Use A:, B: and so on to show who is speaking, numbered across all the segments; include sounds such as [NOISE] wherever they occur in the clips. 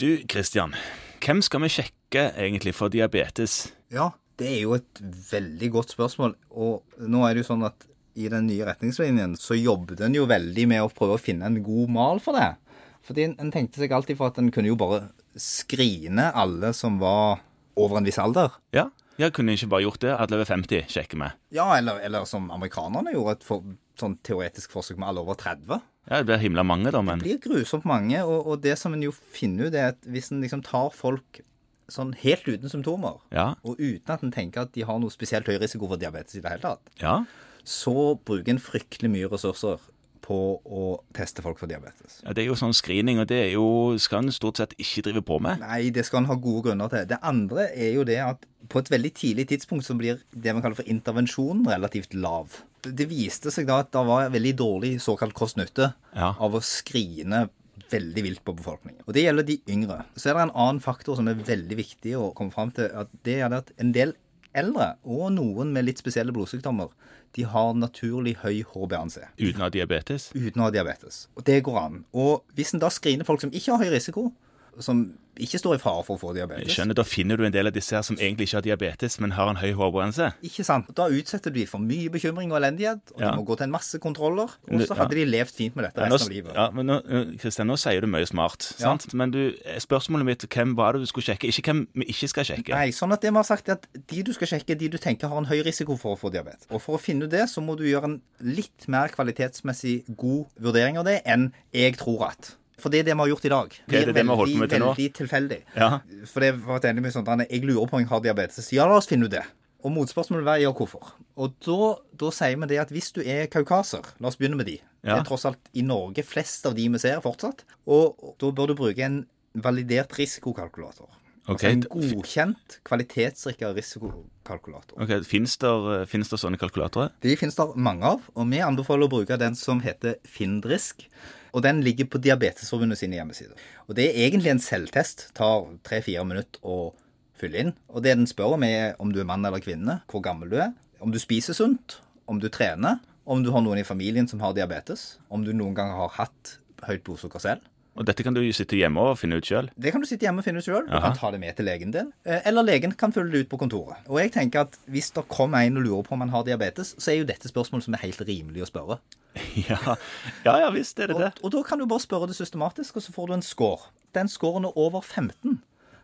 A: Du, Kristian, hvem skal vi sjekke egentlig for diabetes?
B: Ja, det er jo et veldig godt spørsmål. Og nå er det jo sånn at i den nye retningslinjen så jobbet en jo veldig med å prøve å finne en god mal for det. Fordi en, en tenkte seg alltid for at en kunne jo bare skrine alle som var over en viss alder.
A: Ja, jeg kunne ikke bare gjort det. Alle over 50 sjekker vi.
B: Ja, eller, eller som amerikanerne gjorde, et for, sånn teoretisk forsøk med alle over 30.
A: Ja, Det blir himla mange, da, men
B: Det blir grusomt mange, og, og det som en jo finner ut, er at hvis en liksom tar folk sånn helt uten symptomer,
A: Ja.
B: og uten at en tenker at de har noe spesielt høy risiko for diabetes i det hele tatt,
A: ja.
B: så bruker en fryktelig mye ressurser på å teste folk for diabetes.
A: Ja, Det er jo sånn screening, og det er jo, skal en stort sett ikke drive på med.
B: Nei, det skal en ha gode grunner til. Det andre er jo det at på et veldig tidlig tidspunkt så blir det man kaller for intervensjon relativt lav. Det viste seg da at det var veldig dårlig såkalt kost-nytte
A: Ja.
B: av å skrine veldig vilt på befolkningen. Og det gjelder de yngre. Så er det en annen faktor som er veldig viktig å komme fram til. at Det er det at en del eldre, og noen med litt spesielle blodsykdommer, de har naturlig høy HBNC
A: Uten å ha diabetes.
B: uten å ha diabetes. Og det går an. Og hvis en da screener folk som ikke har høy risiko, som ikke står i fare for å få
A: Jeg
B: diabetes
A: skjønner, Da finner du en del av disse her som egentlig ikke har diabetes, men har en høy HbA1c.
B: Ikke sant? Da utsetter du de for mye bekymring og elendighet, og
A: Ja.
B: de må gå til en masse kontroller, og
A: Men det-
B: så hadde de levd fint med dette
A: Ja, nå,
B: resten av livet.
A: ja, men nå, nå- Kristian, nå sier du mye smart, sant? Men du, spørsmålet mitt hvem var det du skulle sjekke, ikke hvem vi ikke skal sjekke.
B: Nei, sånn at det vi har sagt er at De du skal sjekke, er de du tenker har en høy risiko for å få diabetes. Og For å finne ut det, så må du gjøre en litt mer kvalitetsmessig god vurdering av det enn 'jeg tror at'. For det er det vi har gjort i dag.
A: det er det vi har holdt på
B: veldig,
A: med til nå.
B: veldig tilfeldig.
A: Ja.
B: For det var et enig med sånn, Anne, jeg lurer på om jeg har diabetes. Ja, la oss finne ut det. Og motspørsmålet var ja, hvorfor. Og da, da sier vi det at hvis du er kaukaser, la oss begynne med de. Det
A: Ja.
B: er tross alt i Norge flest av de vi ser fortsatt. Og og da bør du bruke en validert risikokalkulator.
A: Ok,
B: altså en
A: d-
B: godkjent, kvalitetsrikka risikokalkulator.
A: Ok, Fins der, finnes der sånne kalkulatorer?
B: De finnes det mange av, og vi anbefaler å bruke den som heter Findrisk. Og den ligger på Diabetesforbundet sine hjemmesider. Og det er egentlig en selvtest. Tar tre-fire minutter å fylle inn. Og det den spør om, er om du er mann eller kvinne, hvor gammel du er, om du spiser sunt, om du trener, om du har noen i familien som har diabetes, om du noen gang har hatt høyt blodsukker selv.
A: Og Dette kan du jo sitte hjemme og finne ut sjøl.
B: Det kan du sitte hjemme og finne ut sjøl. Du
A: Aha.
B: kan ta det med til legen din. eh, Eller legen kan følge det ut på kontoret. Og jeg tenker at Hvis det kom en og lurer på om han har diabetes, så er jo dette spørsmålet som er helt rimelig å spørre.
A: [LAUGHS] Ja. ja ja visst er det det.
B: Og, og da kan du bare spørre det systematisk, og så får du en score. Den scoren er over 15.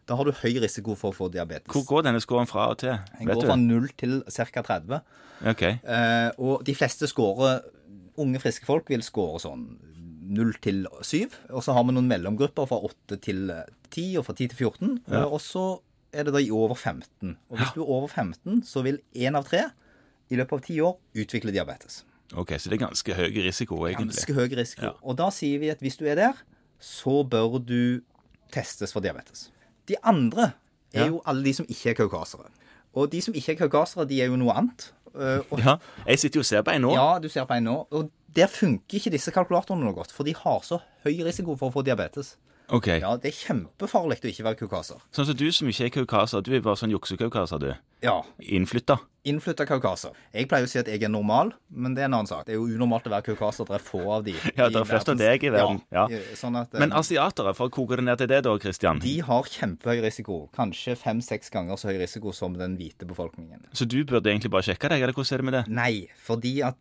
B: Da har du høy risiko for å få diabetes.
A: Hvor går denne skåren fra og til?
B: Den går fra 0 til ca. 30.
A: Ok,
B: Eh, og de fleste scorer Unge, friske folk vil score sånn 0 til 7. Og så har vi noen mellomgrupper fra 8 til eh, 10, og fra 10 til 14. eh, Og så er det da i over 15. Og hvis du er over 15, så vil én av tre i løpet av ti år utvikle diabetes.
A: ok, Så det er ganske høy risiko, egentlig.
B: Ganske høy risiko. Og da sier vi at hvis du er der, så bør du testes for diabetes. De andre er
A: Ja.
B: jo alle de som ikke er kaukasere. Og de som ikke er kaukasere, de er jo noe annet. Eh, Og
A: Ja, Jeg sitter jo og ser på en nå.
B: ja, du ser på en nå. Og der funker ikke disse kalkulatorene noe godt, for de har så høy risiko for å få diabetes.
A: Ok,
B: Ja, det er kjempefarlig å ikke være kaukaser.
A: Sånn som du som ikke er kaukaser, du er bare sånn juksekaukaser, du.
B: Ja.
A: Innflytta.
B: Innflytta kaukaser. Jeg pleier å si at jeg er normal, men det er en annen sak. Det er jo unormalt å være kaukaser. Det er få av de.
A: Ja,
B: i
A: det er flest av
B: verdens-
A: deg i verden. Ja.
B: i- Sånn at eh,
A: Men asiatere, for å koke det ned til det da, Kristian.
B: de har kjempehøy risiko. Kanskje fem-seks ganger så høy risiko som den hvite befolkningen.
A: Så du burde egentlig bare sjekke deg, eller hvordan er det med det?
B: Nei, fordi at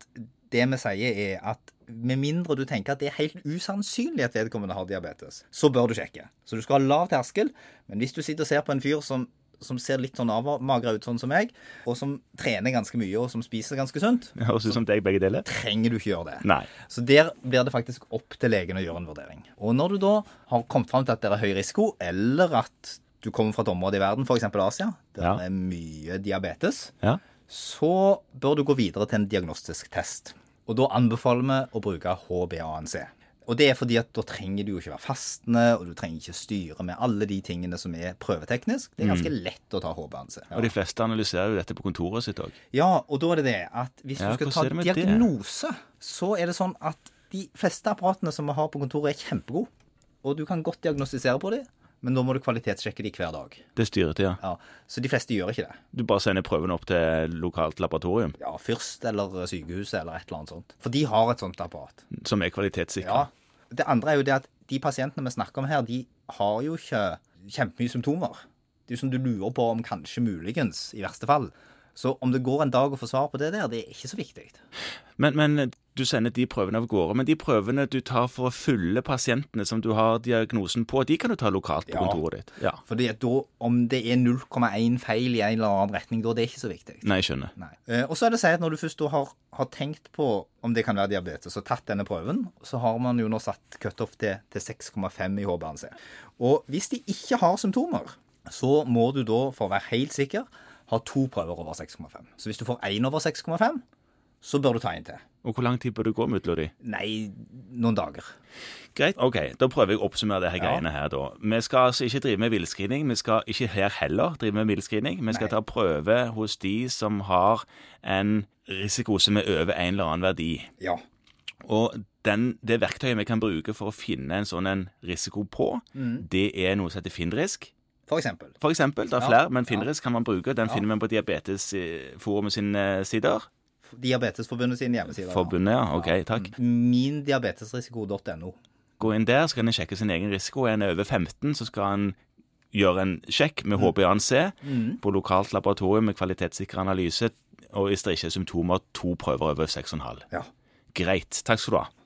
B: det vi sier er at med mindre du tenker at det er helt usannsynlig at vedkommende har diabetes, så bør du sjekke. Så du skal ha lav terskel, men hvis du sitter og ser på en fyr som, som ser litt sånn avmagra ut, sånn som meg, og som trener ganske mye og som spiser ganske sunt,
A: Det Høres ut som deg, begge deler.
B: trenger du ikke gjøre det.
A: Nei.
B: Så der blir det faktisk opp til legen å gjøre en vurdering. Og når du da har kommet fram til at det er høy risiko, eller at du kommer fra et område i verden, f.eks. Asia, der
A: Ja.
B: det er mye diabetes,
A: Ja.
B: så bør du gå videre til en diagnostisk test. Og da anbefaler vi å bruke HBANC. Og det er fordi at da trenger du jo ikke være fastende, og du trenger ikke styre med alle de tingene som er prøveteknisk. Det er ganske lett å ta HBANC.
A: Mm. Og de fleste analyserer jo dette på kontoret sitt òg.
B: Ja, og da er det det at hvis
A: Ja,
B: du
A: hvordan
B: skal
A: er det
B: ta
A: med det?
B: diagnose, så er det sånn at de fleste apparatene som vi har på kontoret, er kjempegode. Og du kan godt diagnostisere på dem, men da må du kvalitetssjekke dem hver dag.
A: Det styrer til, ja.
B: Ja, så de fleste gjør ikke det.
A: Du bare sender prøven opp til lokalt laboratorium,
B: Ja, Fyrst eller sykehuset eller et eller annet sånt. For de har et sånt apparat.
A: som er kvalitetssikra.
B: Ja. Det andre er jo det at de pasientene vi snakker om her, de har jo ikke kjempemye symptomer. Det er jo som du lurer på om kanskje muligens, i verste fall. Så om det går en dag å få svar på det der, det er ikke så viktig.
A: Men, men du sender de prøvene av gårde. Men de prøvene du tar for å fylle pasientene som du har diagnosen på, de kan du ta lokalt på
B: Ja.
A: kontoret ditt? Ja.
B: Fordi at da, om det er 0,1 feil i en eller annen retning, da det er ikke så viktig.
A: Nei, jeg skjønner.
B: Nei. Eh, Og så er det å si at når du først da har, har tenkt på om det kan være diabetes, og tatt denne prøven, så har man jo nå satt cutoff til, til 6,5 i HbA1c. Og hvis de ikke har symptomer, så må du da, for å være helt sikker, ha to prøver over 6,5. Så hvis du får én over 6,5, så bør du ta en til.
A: Og hvor lang tid bør det gå med utlodi?
B: Nei, noen dager.
A: Greit. OK, da prøver jeg å oppsummere det her greiene her, da. Vi skal altså ikke drive med villscreening. Vi skal ikke her heller drive med villscreening. Vi skal
B: Nei.
A: ta prøve hos de som har en risiko som er over en eller annen verdi.
B: Ja.
A: Og den, det verktøyet vi kan bruke for å finne en sånn en risiko på,
B: Mm.
A: det er noe som heter Findrisk.
B: For eksempel.
A: For eksempel, det er
B: Ja,
A: flere, men Findrisk kan man bruke. Den finner man på Diabetesforumet sine eh, sider.
B: Diabetesforbundet sine hjemmesider. ja. Mm.
A: Forbundet, ja. Ok, takk.
B: Mindiabetesrisiko.no.
A: Gå inn der, så kan en sjekke sin egen risiko. Er en over 15, så skal en gjøre en sjekk
B: Mm.
A: med HBA1C på lokalt laboratorium med kvalitetssikra analyse. Og hvis det ikke er symptomer, to prøver over 6,5.
B: Ja.
A: Greit. Takk skal du ha.